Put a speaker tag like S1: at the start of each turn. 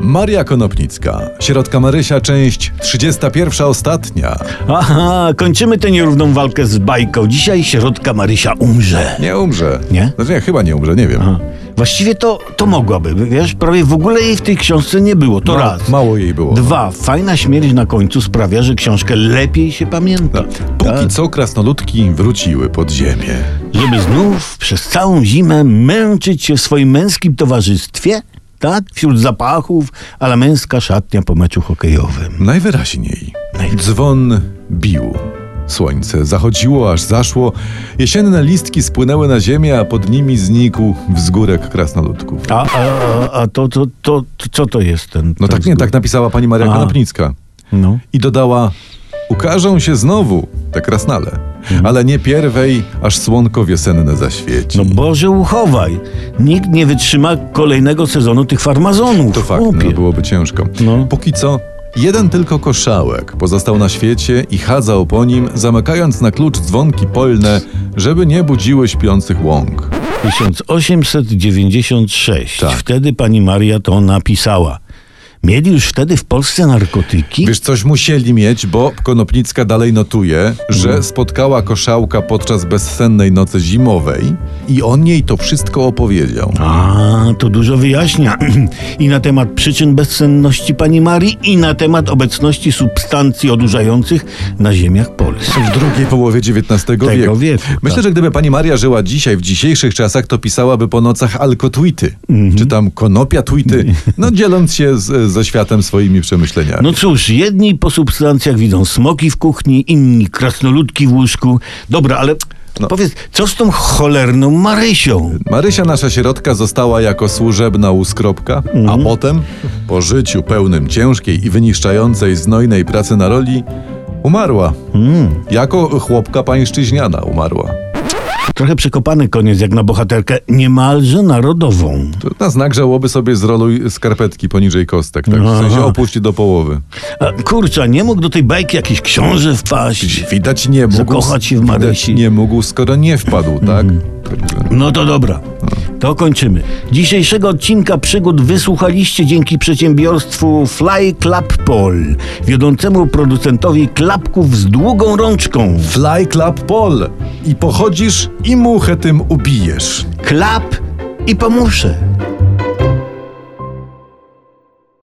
S1: Maria Konopnicka, Środka Marysia, część 31, ostatnia.
S2: Aha, kończymy tę nierówną walkę z bajką. Dzisiaj środka Marysia umrze.
S1: Nie umrze.
S2: Nie?
S1: Znaczy, nie, chyba nie umrze, nie wiem.
S2: Aha. Właściwie to, to mogłaby, wiesz, prawie w ogóle jej w tej książce nie było, to
S1: Ma-
S2: raz.
S1: Mało jej było.
S2: Dwa, fajna śmierć na końcu sprawia, że książkę lepiej się pamięta. Tak?
S1: No. Póki co krasnoludki wróciły pod ziemię.
S2: Żeby znów przez całą zimę męczyć się w swoim męskim towarzystwie, tak? Wśród zapachów, ale męska szatnia po meczu hokejowym.
S1: Najwyraźniej.
S2: Najwyraźniej.
S1: Dzwon bił. Słońce zachodziło, aż zaszło. Jesienne listki spłynęły na ziemię, a pod nimi znikł wzgórek krasnoludków.
S2: A, a, a, a to, to, to, to, co to jest ten...
S1: No
S2: ten
S1: tak nie,
S2: zgór-
S1: tak napisała pani Maria
S2: A.
S1: Konopnicka.
S2: No.
S1: I dodała, ukażą się znowu te krasnale, ale nie pierwej, aż słonko wiosenne zaświeci.
S2: Mhm. No Boże uchowaj. Nikt nie wytrzyma kolejnego sezonu tych farmazonów.
S1: To fakt,
S2: Chłopie.
S1: no, byłoby ciężko.
S2: No.
S1: Póki co, jeden tylko koszałek pozostał na świecie i chadzał po nim, zamykając na klucz dzwonki polne, żeby nie budziły śpiących łąk.
S2: 1896.
S1: Tak.
S2: Wtedy pani Maria to napisała. Mieli już wtedy w Polsce narkotyki?
S1: Wiesz, coś musieli mieć, bo Konopnicka dalej notuje,
S2: Mhm.
S1: że spotkała koszałka podczas bezsennej nocy zimowej i on jej to wszystko opowiedział.
S2: A, to dużo wyjaśnia. I na temat przyczyn bezsenności pani Marii, i na temat obecności substancji odurzających na ziemiach Polski.
S1: W drugiej połowie XIX
S2: Tego
S1: wieku.
S2: wieku,
S1: Myślę,
S2: tak.
S1: że gdyby pani Maria żyła dzisiaj, w dzisiejszych czasach, to pisałaby po nocach alkotwity,
S2: Mhm.
S1: czy tam konopia tweety, no dzieląc się z, ze światem swoimi przemyśleniami.
S2: No cóż, jedni po substancjach widzą smoki w kuchni, inni krasnoludki w łóżku. Dobra, ale
S1: No.
S2: powiedz, co z tą cholerną Marysią?
S1: Marysia, nasza środka, została jako służebna u Skropka,
S2: Mhm.
S1: a potem, po życiu pełnym ciężkiej i wyniszczającej znojnej pracy na roli, umarła.
S2: Mhm.
S1: Jako chłopka pańszczyźniana umarła.
S2: Trochę przekopany koniec jak na bohaterkę niemalże narodową.
S1: To na znak żałoby sobie zroluj skarpetki poniżej kostek, tak? W
S2: Aha.
S1: sensie opuść do połowy.
S2: A, kurczę, nie mógł do tej bajki jakiś książę wpaść.
S1: Widać nie mógł.
S2: Zakochać się w Marysi.
S1: Widać nie mógł, skoro nie wpadł, tak? Także-
S2: No to dobra, to kończymy. Dzisiejszego odcinka przygód wysłuchaliście dzięki przedsiębiorstwu Fly Club Pol, wiodącemu producentowi klapków z długą rączką.
S1: Fly Club Pol! I pochodzisz i muchę tym ubijesz.
S2: Klap i pomuszę.